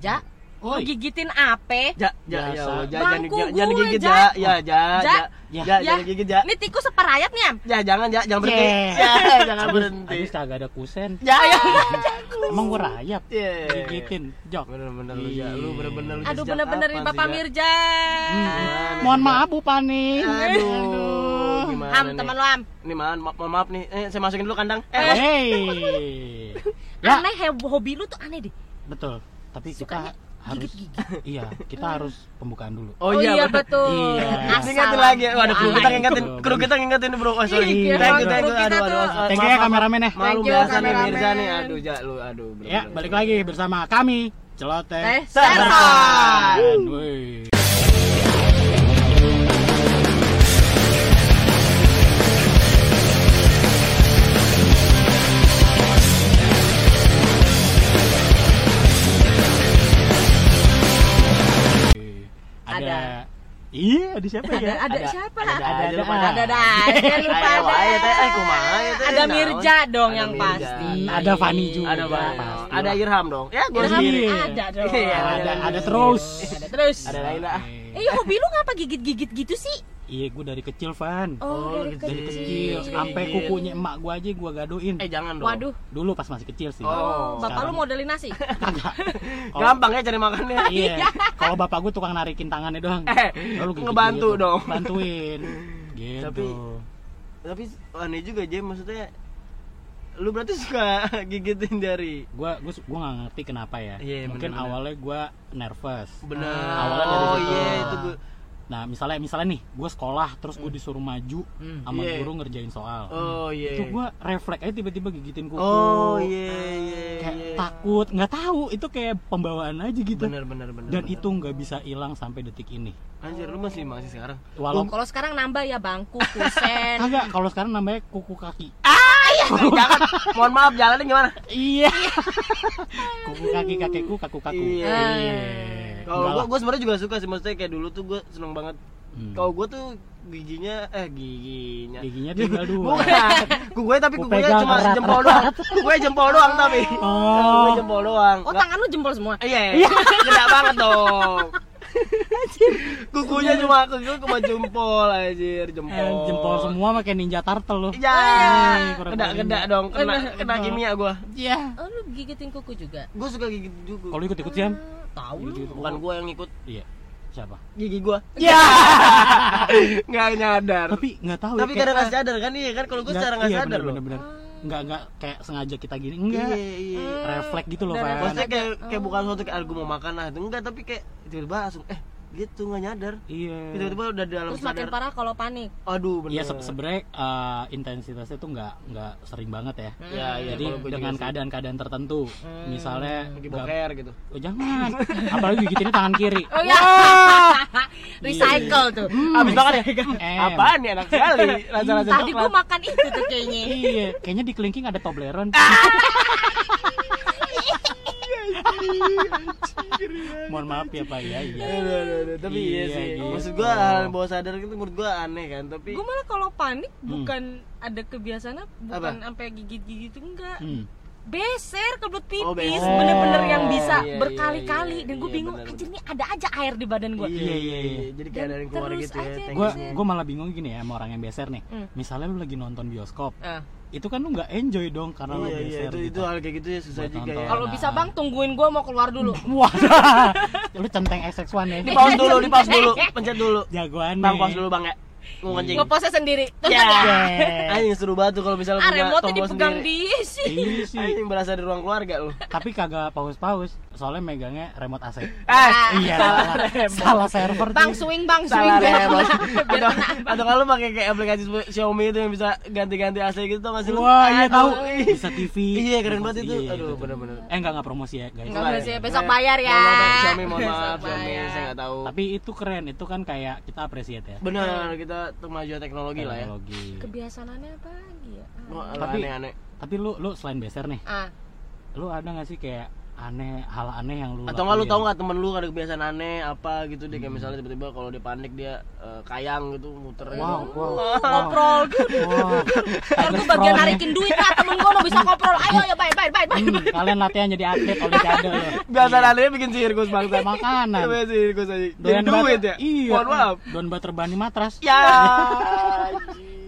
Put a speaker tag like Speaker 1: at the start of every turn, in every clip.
Speaker 1: Ja, lu
Speaker 2: Oh,
Speaker 3: Oi.
Speaker 2: gitu.
Speaker 1: gigitin ape?
Speaker 2: Ja, ja,
Speaker 3: Biasa.
Speaker 2: ya, Allah, ja, jangan
Speaker 1: Bangku
Speaker 2: gigit, jangan
Speaker 1: gue,
Speaker 2: digigit,
Speaker 1: Ja.
Speaker 2: ja, ya, ja,
Speaker 1: Ja. Iya.
Speaker 2: ja,
Speaker 3: Ya.
Speaker 2: ja,
Speaker 1: Ya.
Speaker 2: jangan digigit, ja,
Speaker 1: Ini tikus separayat nih, Am.
Speaker 2: ja, jangan, ja, jangan berhenti,
Speaker 3: Ya.
Speaker 2: Ya, jangan
Speaker 3: Abis,
Speaker 2: berhenti,
Speaker 3: abis kagak ada kusen.
Speaker 2: ja, ya,
Speaker 1: Ah,
Speaker 3: Emang gua rayap.
Speaker 2: Ya.
Speaker 3: Gigitin, jok.
Speaker 2: bener-bener lu, ja,
Speaker 3: Iya.
Speaker 2: lu bener-bener lu
Speaker 1: Aduh,
Speaker 2: sejak
Speaker 1: bener-bener
Speaker 2: kapan
Speaker 1: nih
Speaker 2: sih,
Speaker 1: Bapak
Speaker 2: Ja? Hmm.
Speaker 1: Mirja.
Speaker 2: Gimana
Speaker 3: Mohon
Speaker 2: sih, Ja?
Speaker 3: maaf Bu Pani.
Speaker 2: Aduh, gimana
Speaker 1: Am,
Speaker 2: nih?
Speaker 1: teman lo, Am.
Speaker 2: Nih, mohon ma- mohon maaf nih. Eh, saya masukin dulu kandang. Eh,
Speaker 3: Hey. Ya,
Speaker 1: Aneh, he- hobi lu tuh aneh deh.
Speaker 3: betul. Tapi
Speaker 1: Sukanya
Speaker 3: kita harus iya, kita harus pembukaan dulu.
Speaker 1: Oh, iya, betul. ya,
Speaker 3: Iya.
Speaker 2: Ini Ingatin lagi. Waduh, kru kita
Speaker 1: Assalamualaikum.
Speaker 2: ngingetin, kru kita ngingetin, Bro. Oh, sorry.
Speaker 1: Iya,
Speaker 2: Thank you, thank
Speaker 1: kru
Speaker 2: you.
Speaker 1: kita
Speaker 2: Aduh, aduh.
Speaker 1: tuh.
Speaker 2: aduh.
Speaker 3: Thank you
Speaker 2: Maaf,
Speaker 3: ya
Speaker 2: maaf.
Speaker 3: kameramen ya.
Speaker 2: Malu
Speaker 1: Thank you,
Speaker 2: biasa nih
Speaker 1: kameramen.
Speaker 2: Mirza nih. Aduh, Ja, lu aduh. bro.
Speaker 3: Ya, balik lagi bersama kami
Speaker 1: Eh,
Speaker 3: Celoteh.
Speaker 1: sersan.
Speaker 3: Dan, woi.
Speaker 1: Ada.
Speaker 3: Ada. Iya, ada siapa
Speaker 1: Ada,
Speaker 3: ya?
Speaker 1: ada siapa?
Speaker 2: Ada ada
Speaker 3: Ada,
Speaker 2: aja lu
Speaker 3: ada.
Speaker 2: pada.
Speaker 1: Ada ada aja lu
Speaker 2: Ayo,
Speaker 1: pada.
Speaker 2: ayo, teh. Eh, kumaha, ya, teh.
Speaker 1: Ada
Speaker 2: Naon?
Speaker 1: Mirja dong
Speaker 2: Ada
Speaker 1: yang
Speaker 2: Mirja.
Speaker 1: pasti.
Speaker 3: Ada Fani juga.
Speaker 2: Ada Bang.
Speaker 3: Iya, Pasti
Speaker 2: Ada
Speaker 3: lah.
Speaker 2: Irham dong. Ya, gua
Speaker 1: Ilham
Speaker 2: sendiri.
Speaker 3: Iya.
Speaker 1: ada dong.
Speaker 2: Iya,
Speaker 3: ada,
Speaker 2: Ada-
Speaker 3: ada terus.
Speaker 1: Eh, Ada terus.
Speaker 2: Ada Laila.
Speaker 1: Eh, hobi lu ngapa gigit-gigit gitu sih?
Speaker 3: Iya, gue dari kecil, Van.
Speaker 2: Oh,
Speaker 1: dari
Speaker 2: lu
Speaker 3: Dari
Speaker 2: Iya.
Speaker 3: kecil, sampai
Speaker 2: Iya.
Speaker 3: kukunya emak gue aja gue gadoin.
Speaker 2: Eh, jangan dong.
Speaker 1: Waduh.
Speaker 3: Dulu pas masih kecil sih.
Speaker 2: Oh.
Speaker 1: Oh, bapak lu
Speaker 3: sekarang.
Speaker 1: modelin nasi.
Speaker 3: Kagak. Kalau-
Speaker 2: Gampang ya cari makannya.
Speaker 3: Iya. Kalau bapak gue tukang narikin tangannya doang.
Speaker 2: Eh,
Speaker 3: Lalu gigit
Speaker 2: ngebantu
Speaker 3: gitu.
Speaker 2: dong.
Speaker 3: Bantuin. Gitu.
Speaker 2: Tapi, Tapi aneh juga, Jem. Maksudnya lu berarti suka gigitin jari.
Speaker 3: gue gue gue nggak ngerti kenapa ya.
Speaker 2: Iya,
Speaker 3: Mungkin
Speaker 2: bener-bener.
Speaker 3: awalnya gue nervous.
Speaker 2: Benar.
Speaker 3: awalnya dari
Speaker 2: oh
Speaker 3: situ.
Speaker 2: iya itu gua.
Speaker 3: Nah misalnya misalnya nih, gue sekolah terus gue disuruh maju sama
Speaker 2: Hmm. Iya.
Speaker 3: guru ngerjain soal.
Speaker 2: Oh iya.
Speaker 3: Itu gue refleks aja tiba-tiba gigitin kuku.
Speaker 2: Oh iya iya.
Speaker 3: Kayak
Speaker 2: iya.
Speaker 3: takut, nggak tahu. Itu kayak pembawaan aja gitu.
Speaker 2: Bener bener bener.
Speaker 3: Dan
Speaker 2: bener.
Speaker 3: itu nggak bisa hilang sampai detik ini.
Speaker 2: Anjir lu masih masih sekarang.
Speaker 3: Walau
Speaker 1: Kalau sekarang nambah ya bangku, kusen.
Speaker 3: kagak kalau sekarang namanya kuku kaki.
Speaker 2: Jangan. Mohon maaf jalannya gimana?
Speaker 3: Iya. kuku kaki kakekku kaku kaku.
Speaker 2: Iya. Kalau
Speaker 3: Enggak
Speaker 2: gua
Speaker 3: lah.
Speaker 2: gua sebenarnya juga suka sih maksudnya kayak dulu tuh gua seneng banget.
Speaker 3: Hmm.
Speaker 2: Kalau gua tuh giginya eh giginya.
Speaker 3: giginya tinggal dua.
Speaker 2: Bukan. Kukunya tapi
Speaker 3: Gua
Speaker 2: kukunya
Speaker 3: pegang
Speaker 2: cuma
Speaker 3: erat-erat.
Speaker 2: jempol doang. Kukunya jempol doang tapi. Kukunya
Speaker 3: Oh.
Speaker 2: jempol doang.
Speaker 1: Oh,
Speaker 2: Nggak-
Speaker 1: tangan lu jempol semua.
Speaker 2: Iya. Gede banget dong. Kukunya cuma kukunya cuma jempol anjir,
Speaker 3: Eh,
Speaker 2: jempol.
Speaker 3: jempol semua pakai ninja turtle loh.
Speaker 2: Iya.
Speaker 3: Eh, kurang
Speaker 2: Kena
Speaker 3: dari
Speaker 2: kena
Speaker 3: ini.
Speaker 2: dong, kena kena kimia gua.
Speaker 3: Iya.
Speaker 1: Oh, lu gigitin kuku juga.
Speaker 2: Gua suka gigit juga.
Speaker 3: Kalau ikut ikut siam.
Speaker 1: Tahu lu.
Speaker 2: Hmm, Bukan gua yang ngikut
Speaker 3: Iya. Siapa?
Speaker 2: gigi gua.
Speaker 3: Iya.
Speaker 2: Nggak nyadar.
Speaker 3: Tapi nggak tahu. ya,
Speaker 2: Tapi
Speaker 3: kayak-
Speaker 2: kadang nggak sadar kan iya kan kalau gue
Speaker 3: Nggak-
Speaker 2: secara nggak
Speaker 3: iya,
Speaker 2: sadar loh. Hmm.
Speaker 3: bener-bener. Nggak nggak kayak sengaja kita gini. Enggak.
Speaker 2: Iya iya.
Speaker 3: Refleks gitu loh,
Speaker 1: Udah
Speaker 3: Van.
Speaker 2: Maksudnya kayak kayak bukan suatu kayak "Ah, gua mau makan lah itu enggak tapi kayak tiba-tiba langsung eh gitu nggak nyadar.
Speaker 3: Iya.
Speaker 2: Tiba-tiba udah dalam
Speaker 1: Terus makin
Speaker 2: sadar.
Speaker 1: parah kalau panik.
Speaker 2: Aduh bener.
Speaker 3: Iya se- sebenarnya eh, intensitasnya tuh nggak nggak sering banget ya.
Speaker 2: Iya iya.
Speaker 3: Jadi
Speaker 2: kalau gua juga
Speaker 3: dengan
Speaker 2: sih. Hmm,
Speaker 3: keadaan-keadaan tertentu, misalnya
Speaker 2: lagi
Speaker 3: nggak-
Speaker 2: boker gitu.
Speaker 3: Oh, jangan. Apalagi gigitinnya tangan kiri.
Speaker 1: Oh ya. Recycle tuh.
Speaker 2: Abis makan ya.
Speaker 3: Em.
Speaker 2: Apaan nih enak sekali. Rasa-rasa
Speaker 1: Ah, Tadi gua
Speaker 2: coklat.
Speaker 1: makan itu tuh kayaknya.
Speaker 3: Iya, kayaknya di kelingking ada Toblerone.
Speaker 2: Ah.
Speaker 3: Mohon maaf ya Pak ya. Iya.
Speaker 2: Aduh, aduh, aduh. Tapi iya,
Speaker 3: Iya,
Speaker 2: sih.
Speaker 3: gitu.
Speaker 2: Maksud gua hal yang bawah sadar itu menurut gua aneh kan. Tapi
Speaker 1: Gua malah kalau panik
Speaker 2: Hmm.
Speaker 1: bukan ada kebiasaan bukan sampai gigit-gigit enggak.
Speaker 3: Hmm.
Speaker 1: beser kebelet pipis
Speaker 2: Oh, beser.
Speaker 1: bener-bener yang bisa
Speaker 2: Iya, iya,
Speaker 1: berkali-kali
Speaker 2: iya,
Speaker 1: dan gue
Speaker 2: iya,
Speaker 1: bingung
Speaker 2: bener,
Speaker 1: anjir ini ada aja air di badan gue
Speaker 2: iya iya
Speaker 3: iya.
Speaker 2: iya. Jadi kayak ada yang keluar
Speaker 1: terus
Speaker 2: gitu ya.
Speaker 1: aja
Speaker 2: thank
Speaker 3: Gua
Speaker 2: you.
Speaker 3: gua malah bingung gini ya sama orang yang beser nih.
Speaker 1: Hmm.
Speaker 3: Misalnya lu lagi nonton bioskop,
Speaker 1: Eh,
Speaker 3: itu kan lu nggak enjoy dong karena lu
Speaker 2: Iya iya
Speaker 3: beser.
Speaker 2: itu itu
Speaker 3: gitu.
Speaker 2: hal kayak gitu ya susah
Speaker 3: Buat
Speaker 2: juga ya.
Speaker 3: nonton.
Speaker 1: kalau
Speaker 3: Nah.
Speaker 1: bisa bang tungguin gue mau keluar dulu
Speaker 3: Wah. lu centeng XX1 ya.
Speaker 2: Di pause dulu, di pause dulu, pencet dulu.
Speaker 3: Jagoan
Speaker 2: Bang
Speaker 3: nih. Iya.
Speaker 2: pause dulu bang ya. Mau kencing.
Speaker 1: ngeposnya sendiri terus
Speaker 2: Ya.
Speaker 1: ada
Speaker 3: Yeah.
Speaker 2: Anjing seru banget tuh kalau misalnya
Speaker 1: ah
Speaker 2: punya
Speaker 1: remote
Speaker 2: tombol
Speaker 1: dipegang
Speaker 2: sendiri.
Speaker 1: dia sih
Speaker 3: Iya sih.
Speaker 2: Anjing berasa di ruang keluarga lu.
Speaker 3: Tapi kagak paus-paus, soalnya megangnya remote AC.
Speaker 2: Ah,
Speaker 3: Iya, salah, salah server
Speaker 1: bang
Speaker 3: cuy.
Speaker 1: swing bang swing ya.
Speaker 2: salah
Speaker 1: biar
Speaker 2: remote.
Speaker 1: kena.
Speaker 2: Atau, atau kalau lu pakai kayak aplikasi Xiaomi itu yang bisa ganti-ganti AC gitu tau masih lu.
Speaker 3: Wah, iya
Speaker 2: Aduh.
Speaker 3: tahu. Bisa TV.
Speaker 2: Iya keren banget
Speaker 3: Iya,
Speaker 2: itu. Aduh
Speaker 3: tuh.
Speaker 2: bener-bener.
Speaker 3: Eh enggak enggak promosi ya, guys.
Speaker 1: Nggak
Speaker 2: Salah
Speaker 1: boleh
Speaker 2: ya.
Speaker 1: sih, besok bayar ya.
Speaker 2: Mohon maaf, Xiaomi mohon
Speaker 1: Besok
Speaker 2: maaf Xiaomi
Speaker 1: bayar.
Speaker 2: saya nggak tahu.
Speaker 3: Tapi itu keren, itu kan kayak kita appreciate ya.
Speaker 2: Benar kita kemajuan teknologi lah ya.
Speaker 3: Teknologi.
Speaker 1: kebiasaannya apa lagi ya
Speaker 2: Wah,
Speaker 3: Tapi-
Speaker 2: aneh-aneh.
Speaker 3: Tapi lu lu selain beser nih,
Speaker 1: ah
Speaker 3: lu ada nggak sih kayak aneh hal aneh yang lu
Speaker 2: atau nggak lu
Speaker 3: lakuin.
Speaker 2: tau nggak temen lu ada kebiasaan aneh apa gitu deh kayak
Speaker 3: Hmm.
Speaker 2: misalnya tiba-tiba kalau dia panik dia eh, kayang gitu muter gitu.
Speaker 3: wow wow
Speaker 1: Ngoprol gitu.
Speaker 3: wow
Speaker 1: Ntar gue bagian narikin duit lah temen gue bisa ngoprol. Ayo ayo bye bye bye bye.
Speaker 3: Hmm, kalian latihan jadi atlet olimpiade lo
Speaker 2: Kebiasaan anehnya bikin sirkus bangsa
Speaker 3: makanan
Speaker 2: Iya, sirkus aja. Jadi
Speaker 3: Iya. Doyan
Speaker 2: duit
Speaker 3: banget-
Speaker 2: ya.
Speaker 3: iya
Speaker 2: Mohon maaf.
Speaker 3: don butter bunny matras
Speaker 2: Ya.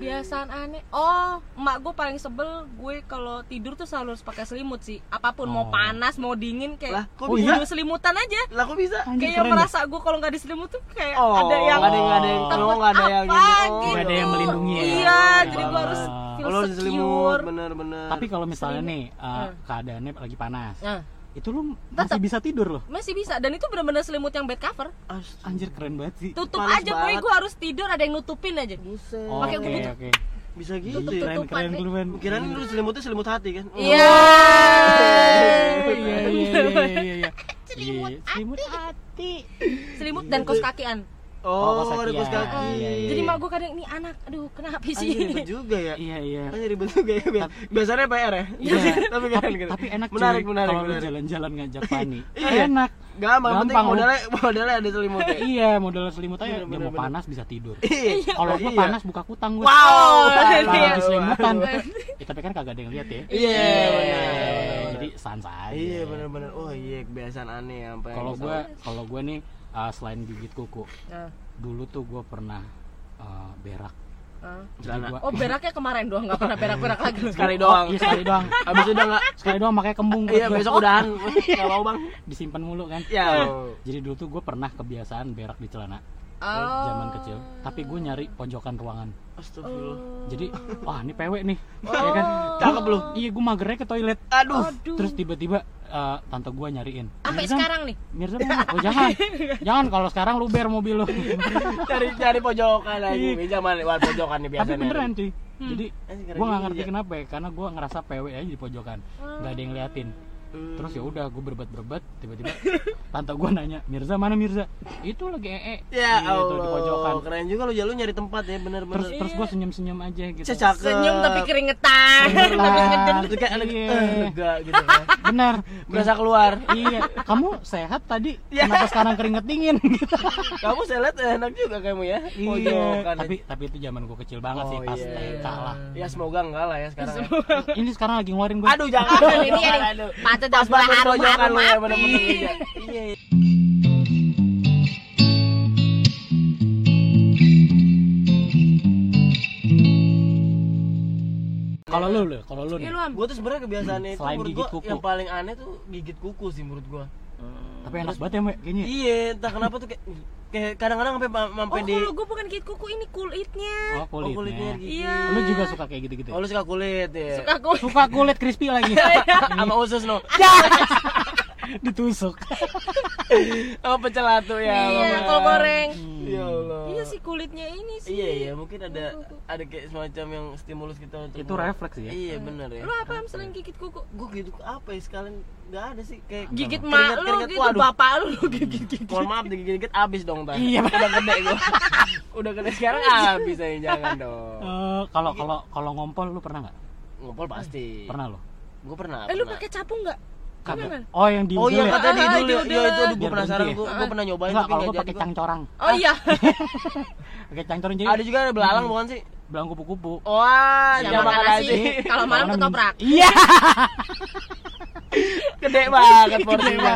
Speaker 1: Biasaan aneh. Oh, emak gue paling sebel gue kalau tidur tuh selalu harus pakai selimut sih. Apapun mau
Speaker 3: Oh.
Speaker 1: panas, mau dingin
Speaker 2: Lah,
Speaker 1: kayak
Speaker 2: kok
Speaker 3: Oh,
Speaker 2: bisa?
Speaker 1: tidur selimutan aja.
Speaker 2: Lah, kok bisa?
Speaker 3: Anjir,
Speaker 1: Kayak
Speaker 3: keren
Speaker 1: merasa gue kalau nggak diselimutin tuh kayak
Speaker 2: Oh,
Speaker 1: ada yang
Speaker 2: ada yang ada yang
Speaker 1: takut
Speaker 2: oh, nggak ada yang
Speaker 1: apa
Speaker 2: Oh,
Speaker 1: gitu.
Speaker 3: Nggak ada yang melindungi ya.
Speaker 1: Iya,
Speaker 3: Oh,
Speaker 1: jadi gue
Speaker 2: parah.
Speaker 1: harus feel
Speaker 2: Kalau harus selimut
Speaker 1: secure.
Speaker 2: bener-bener.
Speaker 3: tapi kalau misalnya
Speaker 2: Iya.
Speaker 3: nih uh,
Speaker 1: Hmm.
Speaker 3: keadaannya lagi panas
Speaker 1: Nah,
Speaker 3: itu lu masih
Speaker 1: Tetep.
Speaker 3: bisa tidur loh
Speaker 1: masih bisa dan itu benar-benar selimut yang bed cover.
Speaker 2: Astaga.
Speaker 3: anjir keren banget sih
Speaker 1: Tutup
Speaker 2: Panas
Speaker 1: aja gue
Speaker 2: banget.
Speaker 1: gue harus tidur ada yang nutupin aja.
Speaker 2: Buset.
Speaker 3: Oh,
Speaker 1: Pakai
Speaker 3: oke
Speaker 1: kutu.
Speaker 3: oke
Speaker 2: Bisa gitu.
Speaker 3: Ih,
Speaker 1: tutupan,
Speaker 3: keren keren
Speaker 1: Rik.
Speaker 3: keren
Speaker 2: Kirain lu selimutnya selimut hati kan?
Speaker 1: Iya.
Speaker 3: iya iya iya iya iya selimut selimut hati
Speaker 1: Selimut dan kos kakian.
Speaker 2: Oh,
Speaker 3: Oh,
Speaker 2: oh ada
Speaker 3: kos
Speaker 2: kos
Speaker 3: kaki.
Speaker 2: kaki.
Speaker 3: Iya, iya.
Speaker 1: Jadi mak gue kadang ini anak, aduh kenapa
Speaker 2: Anjir,
Speaker 1: sih?
Speaker 2: ribet juga ya.
Speaker 3: iya iya
Speaker 2: Anjir ribet juga ya. Bi- Biasanya PR
Speaker 3: Iya.
Speaker 2: ya. tapi keren
Speaker 3: tapi,
Speaker 2: keren.
Speaker 3: tapi enak cuy,
Speaker 2: Menarik menarik
Speaker 3: kalau lu
Speaker 2: menarik.
Speaker 3: jalan-jalan ngajak Fani
Speaker 2: Iya.
Speaker 3: enak
Speaker 2: Gampang, penting
Speaker 3: Gampang, lu.
Speaker 2: modalnya modalnya ada ya. selimutnya.
Speaker 3: iya modal selimut aja
Speaker 2: Bener,
Speaker 3: dia
Speaker 2: bener,
Speaker 3: mau
Speaker 2: bener.
Speaker 3: panas bisa tidur
Speaker 2: Iya.
Speaker 3: kalau gua
Speaker 2: Iya.
Speaker 3: panas buka kutang gua
Speaker 2: Wow.
Speaker 3: Kalau
Speaker 1: Iya.
Speaker 3: habis selimutan ya, tapi kan kagak ada yang lihat ya
Speaker 2: Iya. bener, bener,
Speaker 3: Eh,
Speaker 2: bener.
Speaker 3: jadi sans aja
Speaker 2: Iya benar-benar. Oh iya kebiasaan aneh ya, sampai.
Speaker 3: kalau gua kalau gua nih uh, selain gigit kuku
Speaker 1: Nah,
Speaker 3: dulu tuh gua pernah uh, berak
Speaker 1: ah.
Speaker 3: Jadi
Speaker 2: Celana.
Speaker 3: gua-
Speaker 1: Oh beraknya kemarin doang nggak pernah berak-berak lagi. lu.
Speaker 2: sekali
Speaker 3: Oh,
Speaker 2: doang.
Speaker 3: iya sekali doang
Speaker 2: Abis itu udah Ah, nggak.
Speaker 3: sekali doang makanya kembung
Speaker 2: Iya
Speaker 3: gua. Iya.
Speaker 2: besok udahan. Gak mau bang.
Speaker 3: disimpan mulu kan
Speaker 2: Ya.
Speaker 3: jadi dulu tuh gua pernah kebiasaan berak di celana eh,
Speaker 1: Oh.
Speaker 3: zaman kecil tapi gua nyari pojokan ruangan
Speaker 2: Astagfirullah.
Speaker 3: jadi wah ini pewe nih
Speaker 1: Oh.
Speaker 3: ya kan
Speaker 2: Cakep lu.
Speaker 3: iya gua magernya ke toilet
Speaker 2: Aduh.
Speaker 1: Aduh.
Speaker 3: terus kan. tiba-tiba eh, tante gua nyariin
Speaker 1: sampai
Speaker 3: Mirza,
Speaker 1: sekarang nih.
Speaker 3: Mirza mana? oh jangan jangan kalau sekarang lu ber mobil lu
Speaker 2: Cari cari pojokan lagi.
Speaker 3: Iya.
Speaker 2: Ini zaman wah pojokan nih biasanya.
Speaker 3: tapi beneran cuy jadi
Speaker 2: Anjir,
Speaker 3: gua nggak
Speaker 2: keren
Speaker 3: ngerti
Speaker 2: juga.
Speaker 3: kenapa ya karena gua ngerasa PW aja di pojokan nggak ada yang liatin
Speaker 2: Hmm.
Speaker 3: terus ya udah gua berbat berbat tiba-tiba tante gua nanya Mirza mana Mirza itu lagi ee
Speaker 2: Ya
Speaker 3: Gitu, di pojokan
Speaker 2: Allah. Keren juga lu ya lu nyari tempat ya
Speaker 3: terus
Speaker 2: bener-bener.
Speaker 3: terus gua senyum senyum aja gitu
Speaker 2: Cakep.
Speaker 1: Senyum tapi keringetan. Tapi ngeden.
Speaker 3: Bener.
Speaker 2: Terus kayak ada
Speaker 3: Iya.
Speaker 2: eh, lega gitu. kan.
Speaker 3: benar
Speaker 2: Berasa keluar.
Speaker 3: iya kamu sehat tadi
Speaker 2: Ya.
Speaker 3: kenapa sekarang keringet dingin gitu
Speaker 2: Kamu saya lihat enak juga kamu ya.
Speaker 3: Iya,
Speaker 2: Pojokan.
Speaker 3: tapi tapi itu zaman gue kecil banget sih
Speaker 2: Oh,
Speaker 3: pas
Speaker 2: iya.
Speaker 3: TK lah.
Speaker 2: Ya semoga enggak lah ya sekarang. ya.
Speaker 3: Ini sekarang lagi ngeluarin gue.
Speaker 2: Aduh jangan.
Speaker 3: Iya,
Speaker 1: Aduh, ini ya,
Speaker 2: Aduh.
Speaker 1: Patut
Speaker 2: Pas
Speaker 1: dah
Speaker 2: banget
Speaker 1: harum
Speaker 2: pojokan
Speaker 1: harum
Speaker 2: lu ya
Speaker 1: api.
Speaker 2: bener-bener. Iya, Iya.
Speaker 3: Kalau lu lu, kalau lu
Speaker 1: Iya
Speaker 3: nih.
Speaker 1: lu Am.
Speaker 2: Gue tuh sebenarnya kebiasaannya itu
Speaker 3: Selain
Speaker 2: menurut
Speaker 3: gigit
Speaker 2: gua
Speaker 3: kuku.
Speaker 2: yang paling aneh tuh gigit kuku sih menurut gua.
Speaker 3: Tapi enak banget ya, Mbak, kayaknya.
Speaker 2: Iya, entah kenapa tuh kayak kayak kadang-kadang sampai ma-
Speaker 1: Oh
Speaker 2: sampai di
Speaker 1: kalau gue bukan gigit kuku ini kulitnya.
Speaker 3: Oh, kulitnya.
Speaker 2: gigit.
Speaker 1: Iya. Nah,
Speaker 3: Lu juga suka kayak gitu-gitu.
Speaker 2: Oh, lu suka kulit ya.
Speaker 1: Suka Iya. kulit.
Speaker 3: Suka kulit crispy lagi.
Speaker 2: Sama usus no.
Speaker 3: Ditusuk.
Speaker 2: Sama pecel atu ya.
Speaker 1: Iya,
Speaker 2: sama-
Speaker 1: kol goreng.
Speaker 2: Ya Allah.
Speaker 1: Iya sih kulitnya ini sih.
Speaker 2: Iya, iya, mungkin ada ada kayak semacam yang stimulus kita untuk
Speaker 3: Itu refleks ya?
Speaker 2: Iya, benar ya.
Speaker 1: Lu apa Am selain gigit kuku?
Speaker 2: Gue gigit kuku apa ya sekalian enggak ada sih kayak
Speaker 1: Gigit
Speaker 2: Keringat-
Speaker 1: mak lu
Speaker 2: keringat
Speaker 1: gitu,
Speaker 2: gua, aduh.
Speaker 1: bapak lu lu gigit-gigit.
Speaker 2: Mohon maaf digigit-gigit abis dong tadi.
Speaker 3: Iya.
Speaker 2: Udah gede gua. Udah gede sekarang abis aja jangan dong.
Speaker 3: Eh, Kalau kalau kalau ngompol lu pernah nggak?
Speaker 2: Ngumpul pasti.
Speaker 3: Pernah lo.
Speaker 2: Gue pernah.
Speaker 1: Eh lu
Speaker 2: pernah.
Speaker 1: pakai capung nggak? Kagak.
Speaker 3: Oh, yang di
Speaker 2: Oh iya
Speaker 3: ya?
Speaker 1: kata-
Speaker 2: katanya di
Speaker 1: Ah,
Speaker 2: dulu ya.
Speaker 1: diudel.
Speaker 2: Iya itu aduh gue
Speaker 3: Biar
Speaker 2: penasaran.
Speaker 3: berhenti
Speaker 2: Gue
Speaker 1: ya?
Speaker 2: gue pernah nyobain
Speaker 3: Enggak,
Speaker 2: tapi
Speaker 3: kalau
Speaker 2: nggak
Speaker 3: gue
Speaker 2: jadi.
Speaker 3: pakai
Speaker 2: gua.
Speaker 3: cangcorang.
Speaker 1: Oh iya.
Speaker 3: Pakai cangcorang jadi
Speaker 2: Ada juga ada
Speaker 3: Iya.
Speaker 2: belalang bukan sih?
Speaker 3: belang kupu-kupu.
Speaker 2: Wah,
Speaker 1: Ya,
Speaker 2: dia makan
Speaker 1: makan
Speaker 2: nasi.
Speaker 1: nasi. Kalau malam
Speaker 3: Iya, Malam-
Speaker 1: ketoprak.
Speaker 3: Iya.
Speaker 2: Gede banget
Speaker 3: Tuh
Speaker 2: porsinya. Porsinya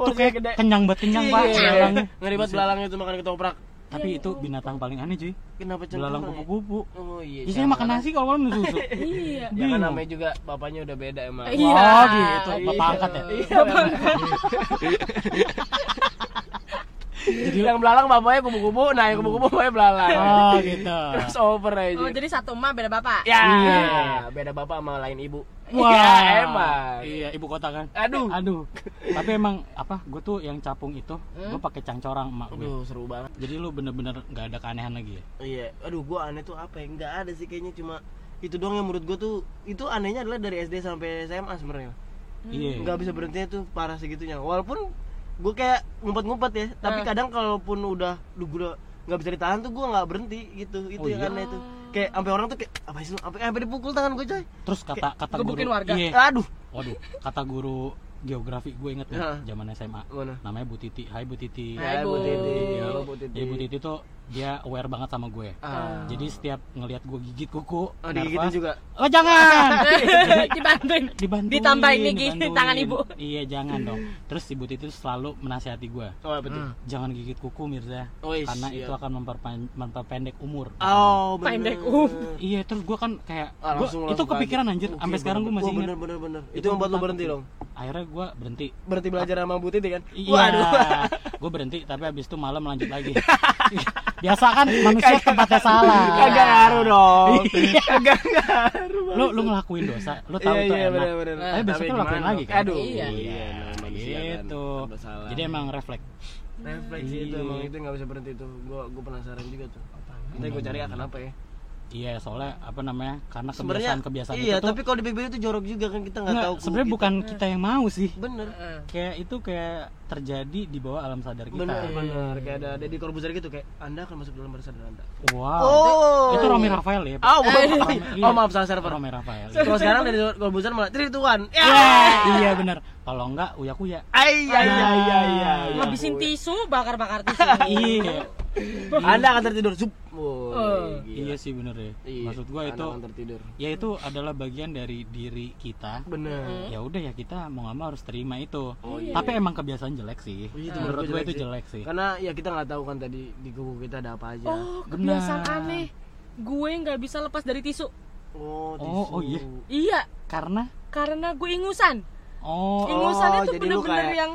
Speaker 3: kayak
Speaker 2: Iya, gede.
Speaker 3: kenyang banget kenyang banget
Speaker 2: Iya.
Speaker 3: belang.
Speaker 2: Ngeri banget Iya, belalang itu makan ketoprak.
Speaker 3: Tapi itu binatang paling aneh, cuy.
Speaker 2: Kenapa cengkeh
Speaker 3: Belalang
Speaker 2: orang ya?
Speaker 3: kupu-kupu.
Speaker 2: Oh iya.
Speaker 3: Isinya makan nasi kalau malam susu.
Speaker 1: Iya.
Speaker 2: Ya kan
Speaker 3: Bingung.
Speaker 2: namanya juga bapaknya udah beda emang.
Speaker 1: Iya.
Speaker 3: Wah, Oh, gitu. Bapak
Speaker 2: Iya.
Speaker 3: angkat ya.
Speaker 2: Iya, bapak angkat. Jadi yang belalang bapaknya kubu-kubu, nah yang kubu-kubu bapaknya belalang.
Speaker 3: Oh, gitu.
Speaker 2: Crossover aja.
Speaker 1: Oh jadi satu emak beda bapak.
Speaker 2: Ya,
Speaker 3: Iya.
Speaker 2: beda bapak sama lain ibu.
Speaker 3: Wah,
Speaker 2: Ya, emang.
Speaker 3: Iya, ibu kota kan.
Speaker 2: Aduh.
Speaker 3: Aduh. Tapi emang apa? Gue tuh yang capung itu, gue pakai cangcorang emak gue.
Speaker 2: Hmm? Aduh, seru banget.
Speaker 3: Jadi lu bener-bener nggak ada keanehan lagi ya.
Speaker 2: Iya, aduh gua aneh tuh apa ya? Enggak ada sih kayaknya cuma itu doang yang menurut gua tuh itu anehnya adalah dari SD sampai SMA sebenarnya.
Speaker 3: Iya.
Speaker 2: Enggak bisa berhentinya tuh parah segitunya. Walaupun gua kayak ngumpet-ngumpet ya, tapi kadang kalaupun udah lu gua nggak bisa ditahan tuh gua nggak berhenti gitu. Itu
Speaker 3: Oh,
Speaker 2: yang
Speaker 3: iya?
Speaker 2: aneh tuh. Kayak sampai orang tuh kayak apa sih lu? Sampai sampai dipukul tangan gua coy. Eh.
Speaker 3: Terus kata kata guru.
Speaker 2: Ah.
Speaker 1: gebukin warga.
Speaker 3: Iya.
Speaker 2: Aduh.
Speaker 3: Waduh, kata guru geografi gue inget ya
Speaker 2: Heeh.
Speaker 3: zaman SMA
Speaker 2: Mana?
Speaker 3: namanya Bu Titi Hai Bu Titi
Speaker 1: Hai,
Speaker 2: Ya,
Speaker 1: Bu.
Speaker 2: Bu Titi. Halo, Bu
Speaker 3: Jadi Bu
Speaker 2: Titi.
Speaker 3: Titi tuh dia aware banget sama gue
Speaker 2: Ah.
Speaker 3: jadi setiap ngelihat gue gigit kuku
Speaker 2: Oh, digigitin
Speaker 3: nervous,
Speaker 2: juga.
Speaker 3: oh jangan
Speaker 1: dibantuin
Speaker 3: dibantuin
Speaker 1: Ditambahin nih gini,
Speaker 3: dibantuin.
Speaker 1: tangan ibu.
Speaker 3: iya jangan dong terus ibu Titi tuh selalu menasihati gue
Speaker 2: Oh, betul.
Speaker 3: jangan gigit kuku Mirza
Speaker 2: Oh, iya.
Speaker 3: karena itu akan memperpan- memperpendek umur
Speaker 2: Oh, bener.
Speaker 1: Pendek um.
Speaker 3: iya terus gue kan kayak
Speaker 2: Ah,
Speaker 3: gua- itu
Speaker 2: langsung- langsung
Speaker 3: kepikiran
Speaker 2: kaget.
Speaker 3: anjir
Speaker 2: Oke,
Speaker 3: sampai sekarang gue
Speaker 2: bener.
Speaker 3: masih
Speaker 2: Wah,
Speaker 3: ingat
Speaker 2: bener bener bener. Itu yang buat lo
Speaker 3: gua
Speaker 2: berhenti
Speaker 3: takut.
Speaker 2: dong.
Speaker 3: akhirnya gue berhenti
Speaker 2: Berhenti belajar sama Bu Titi kan?
Speaker 3: Iya, gue berhenti tapi abis itu malam lanjut lagi. Biasa kan manusia tempatnya salah.
Speaker 2: Kagak ngaruh dong. Kagak ngaruh.
Speaker 3: Lu lu ngelakuin dosa, lu tahu
Speaker 2: Iya,
Speaker 3: itu
Speaker 2: iya,
Speaker 3: enak.
Speaker 2: bener, bener.
Speaker 3: Tapi besok
Speaker 2: Tapi
Speaker 3: lu lakuin
Speaker 2: gimana
Speaker 3: lagi
Speaker 2: dong?
Speaker 3: kan.
Speaker 2: Aduh,
Speaker 1: Iya.
Speaker 2: iya, namanya manusia kan,
Speaker 3: Gitu.
Speaker 2: serba salah.
Speaker 3: Jadi emang refleks.
Speaker 2: Refleksi itu
Speaker 3: Iya.
Speaker 2: emang itu nggak bisa berhenti tuh. Gua gua penasaran juga tuh. Nanti gua cari akan apa ya?
Speaker 3: Iya, soalnya apa namanya? Karena
Speaker 2: Sebenarnya
Speaker 3: kebiasaan-kebiasaan itu
Speaker 2: iya,
Speaker 3: tuh
Speaker 2: tapi kalau dipikirin itu jorok juga kan kita nggak Eh,
Speaker 3: nggak,
Speaker 2: tahu. Nah.
Speaker 3: sebenarnya
Speaker 2: kubu
Speaker 3: bukan
Speaker 2: kita.
Speaker 3: kita yang mau sih.
Speaker 2: bener.
Speaker 3: Kayak itu kayak terjadi di bawah alam sadar kita.
Speaker 2: Bener, bener. Kayak ada Deddy Corbuzier gitu kayak Anda akan masuk dalam barisan Anda.
Speaker 3: Wow.
Speaker 2: Oh.
Speaker 3: Itu Romi Rafael ya. Pak?
Speaker 2: Oh, bukan.
Speaker 3: Romi-
Speaker 2: oh,
Speaker 3: iya.
Speaker 2: maaf salah server.
Speaker 3: Romi Rafael.
Speaker 2: Kalau sekarang dari Corbuzier malah 3 to 1. Ya.
Speaker 3: Iya bener. Kalau enggak uya kuya.
Speaker 2: Ay, ay, ay, ay, ay, ay.
Speaker 1: habisin tisu bakar-bakar tisu
Speaker 3: Iya.
Speaker 2: Anda akan tertidur. Zup. Woy, gila.
Speaker 3: Iya sih bener ya.
Speaker 2: Iya,
Speaker 3: Maksud gua
Speaker 2: Anda
Speaker 3: itu
Speaker 2: akan tertidur.
Speaker 3: ya itu adalah bagian dari diri kita.
Speaker 2: Bener.
Speaker 3: Ya udah ya kita mau nggak mau harus terima itu. Tapi emang kebiasaan jelek sih.
Speaker 2: Oh, Iya, itu
Speaker 3: Menurut gua itu jelek sih.
Speaker 2: Karena ya kita nggak tahu kan tadi di kubu kita ada apa aja.
Speaker 1: oh kebiasaan
Speaker 3: Benar.
Speaker 1: aneh gue nggak bisa lepas dari tisu
Speaker 2: Oh,
Speaker 3: Oh, oh, iya.
Speaker 1: iya
Speaker 3: Karena
Speaker 1: karena gue ingusan
Speaker 3: oh
Speaker 1: ingusannya tuh
Speaker 2: jadi lu
Speaker 1: bener-bener
Speaker 2: kayak-
Speaker 1: yang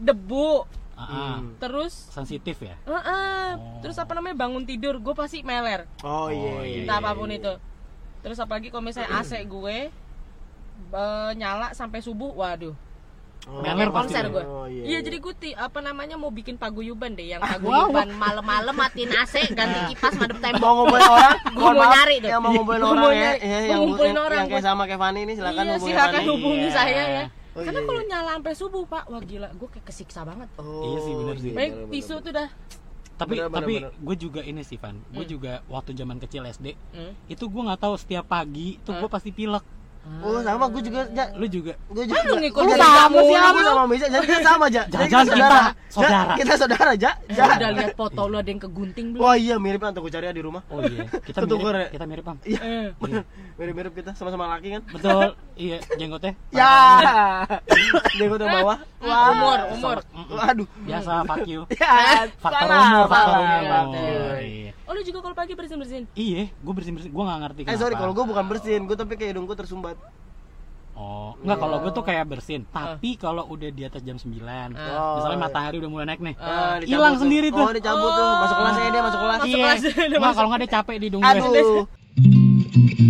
Speaker 1: debu
Speaker 3: ah, ah,
Speaker 2: Hmm.
Speaker 1: terus
Speaker 3: sensitif ya.
Speaker 1: eh, eh, terus apa namanya bangun tidur gue pasti meler
Speaker 2: Oh iya. iya. Hmm.
Speaker 1: entah apapun itu terus apalagi kalau misalnya AC gue eh, nyala sampai subuh waduh
Speaker 2: Oh,
Speaker 3: Meler pasti.
Speaker 1: konser gue
Speaker 2: Oh, iya, Ah,
Speaker 1: iya
Speaker 2: iya.
Speaker 1: jadi gue ti- apa namanya mau bikin paguyuban deh yang paguyuban malam-malam matiin AC
Speaker 2: Iya.
Speaker 1: ganti kipas madep
Speaker 2: mau
Speaker 1: tembok
Speaker 2: ngumpulin orang,
Speaker 1: Gua
Speaker 2: mohon
Speaker 1: mau
Speaker 2: maaf,
Speaker 1: nyari deh.
Speaker 2: Yang mau ngumpulin
Speaker 1: Gua
Speaker 2: orang
Speaker 1: mau
Speaker 2: ya,
Speaker 1: nyari.
Speaker 2: ya,
Speaker 1: Gua
Speaker 2: yang,
Speaker 1: ngumpulin
Speaker 2: yang-
Speaker 1: orang,
Speaker 2: yang kayak
Speaker 1: gua-
Speaker 2: sama kayak Fani ini silakan
Speaker 1: iya
Speaker 2: hubungi
Speaker 1: silakan
Speaker 2: Fani.
Speaker 1: hubungi
Speaker 3: Iya.
Speaker 1: saya ya
Speaker 2: Oh,
Speaker 1: karena
Speaker 2: iya,
Speaker 1: kalau nyala sampai subuh pak wah gila gue kayak kesiksa banget
Speaker 2: Oh,
Speaker 3: Iya sih, bener sih.
Speaker 1: Baik,
Speaker 2: bener,
Speaker 1: tisu
Speaker 2: bener.
Speaker 1: tuh dah
Speaker 3: Tapi
Speaker 2: Bener, bener,
Speaker 3: tapi
Speaker 2: bener. Hmm.
Speaker 3: gue juga ini sih Van. Gue juga waktu zaman kecil SD
Speaker 1: Hmm.
Speaker 3: itu gua nggak tahu setiap pagi tuh
Speaker 2: Eh.
Speaker 3: gue pasti pilek.
Speaker 2: Oh, sama gue juga. Ja,
Speaker 3: Lu juga
Speaker 2: gue juga.
Speaker 1: Kan lu ngikut
Speaker 2: Lu
Speaker 1: dari
Speaker 2: sama
Speaker 1: kamu,
Speaker 2: siapa? Gua
Speaker 1: lu.
Speaker 2: sama Misa. Jadi kita sama aja.
Speaker 3: Jangan-jangan kita saudara.
Speaker 2: Kita saudara aja.
Speaker 1: Eh, udah lihat foto lu ada yang kegunting belum
Speaker 2: Wah, iya mirip kan tuh gue cari ya di rumah.
Speaker 3: Oh iya, kita
Speaker 2: Tuh, tuh, gua, Re.
Speaker 3: mirip, kita mirip Bang.
Speaker 2: Iya,
Speaker 1: Eh,
Speaker 2: bener. Mirip-mirip kita sama-sama laki kan.
Speaker 3: Betul. Iya, jenggotnya.
Speaker 2: Ya. Dia gue bawah. Wah.
Speaker 1: Eh, umur umur
Speaker 2: Waduh.
Speaker 3: Biasa fuck you.
Speaker 2: Ya,
Speaker 3: Faktor
Speaker 2: salah,
Speaker 3: umur, faktor
Speaker 2: salah,
Speaker 3: umur.
Speaker 2: faktor.
Speaker 3: Iya.
Speaker 1: oh lu juga kalau pagi bersin bersin
Speaker 3: Iya, gue bersin bersin, gue nggak ngerti
Speaker 2: Eh sorry kalau gue bukan bersin, gue tapi kayak hidung gue tersumbat.
Speaker 3: Oh, nggak kalau gue tuh kayak bersin.
Speaker 2: Eh.
Speaker 3: Tapi kalau udah di atas jam 9
Speaker 2: Oh.
Speaker 3: misalnya matahari udah mulai naik nih,
Speaker 2: Ah, dicabut
Speaker 3: hilang sendiri tuh.
Speaker 2: Oh dicabut tuh, masuk kelas ya dia masuk kelas.
Speaker 1: Masuk
Speaker 3: Iya.
Speaker 1: kelas, udah
Speaker 3: Nggak, kalau nggak dia capek di hidung gue.
Speaker 2: Aduh.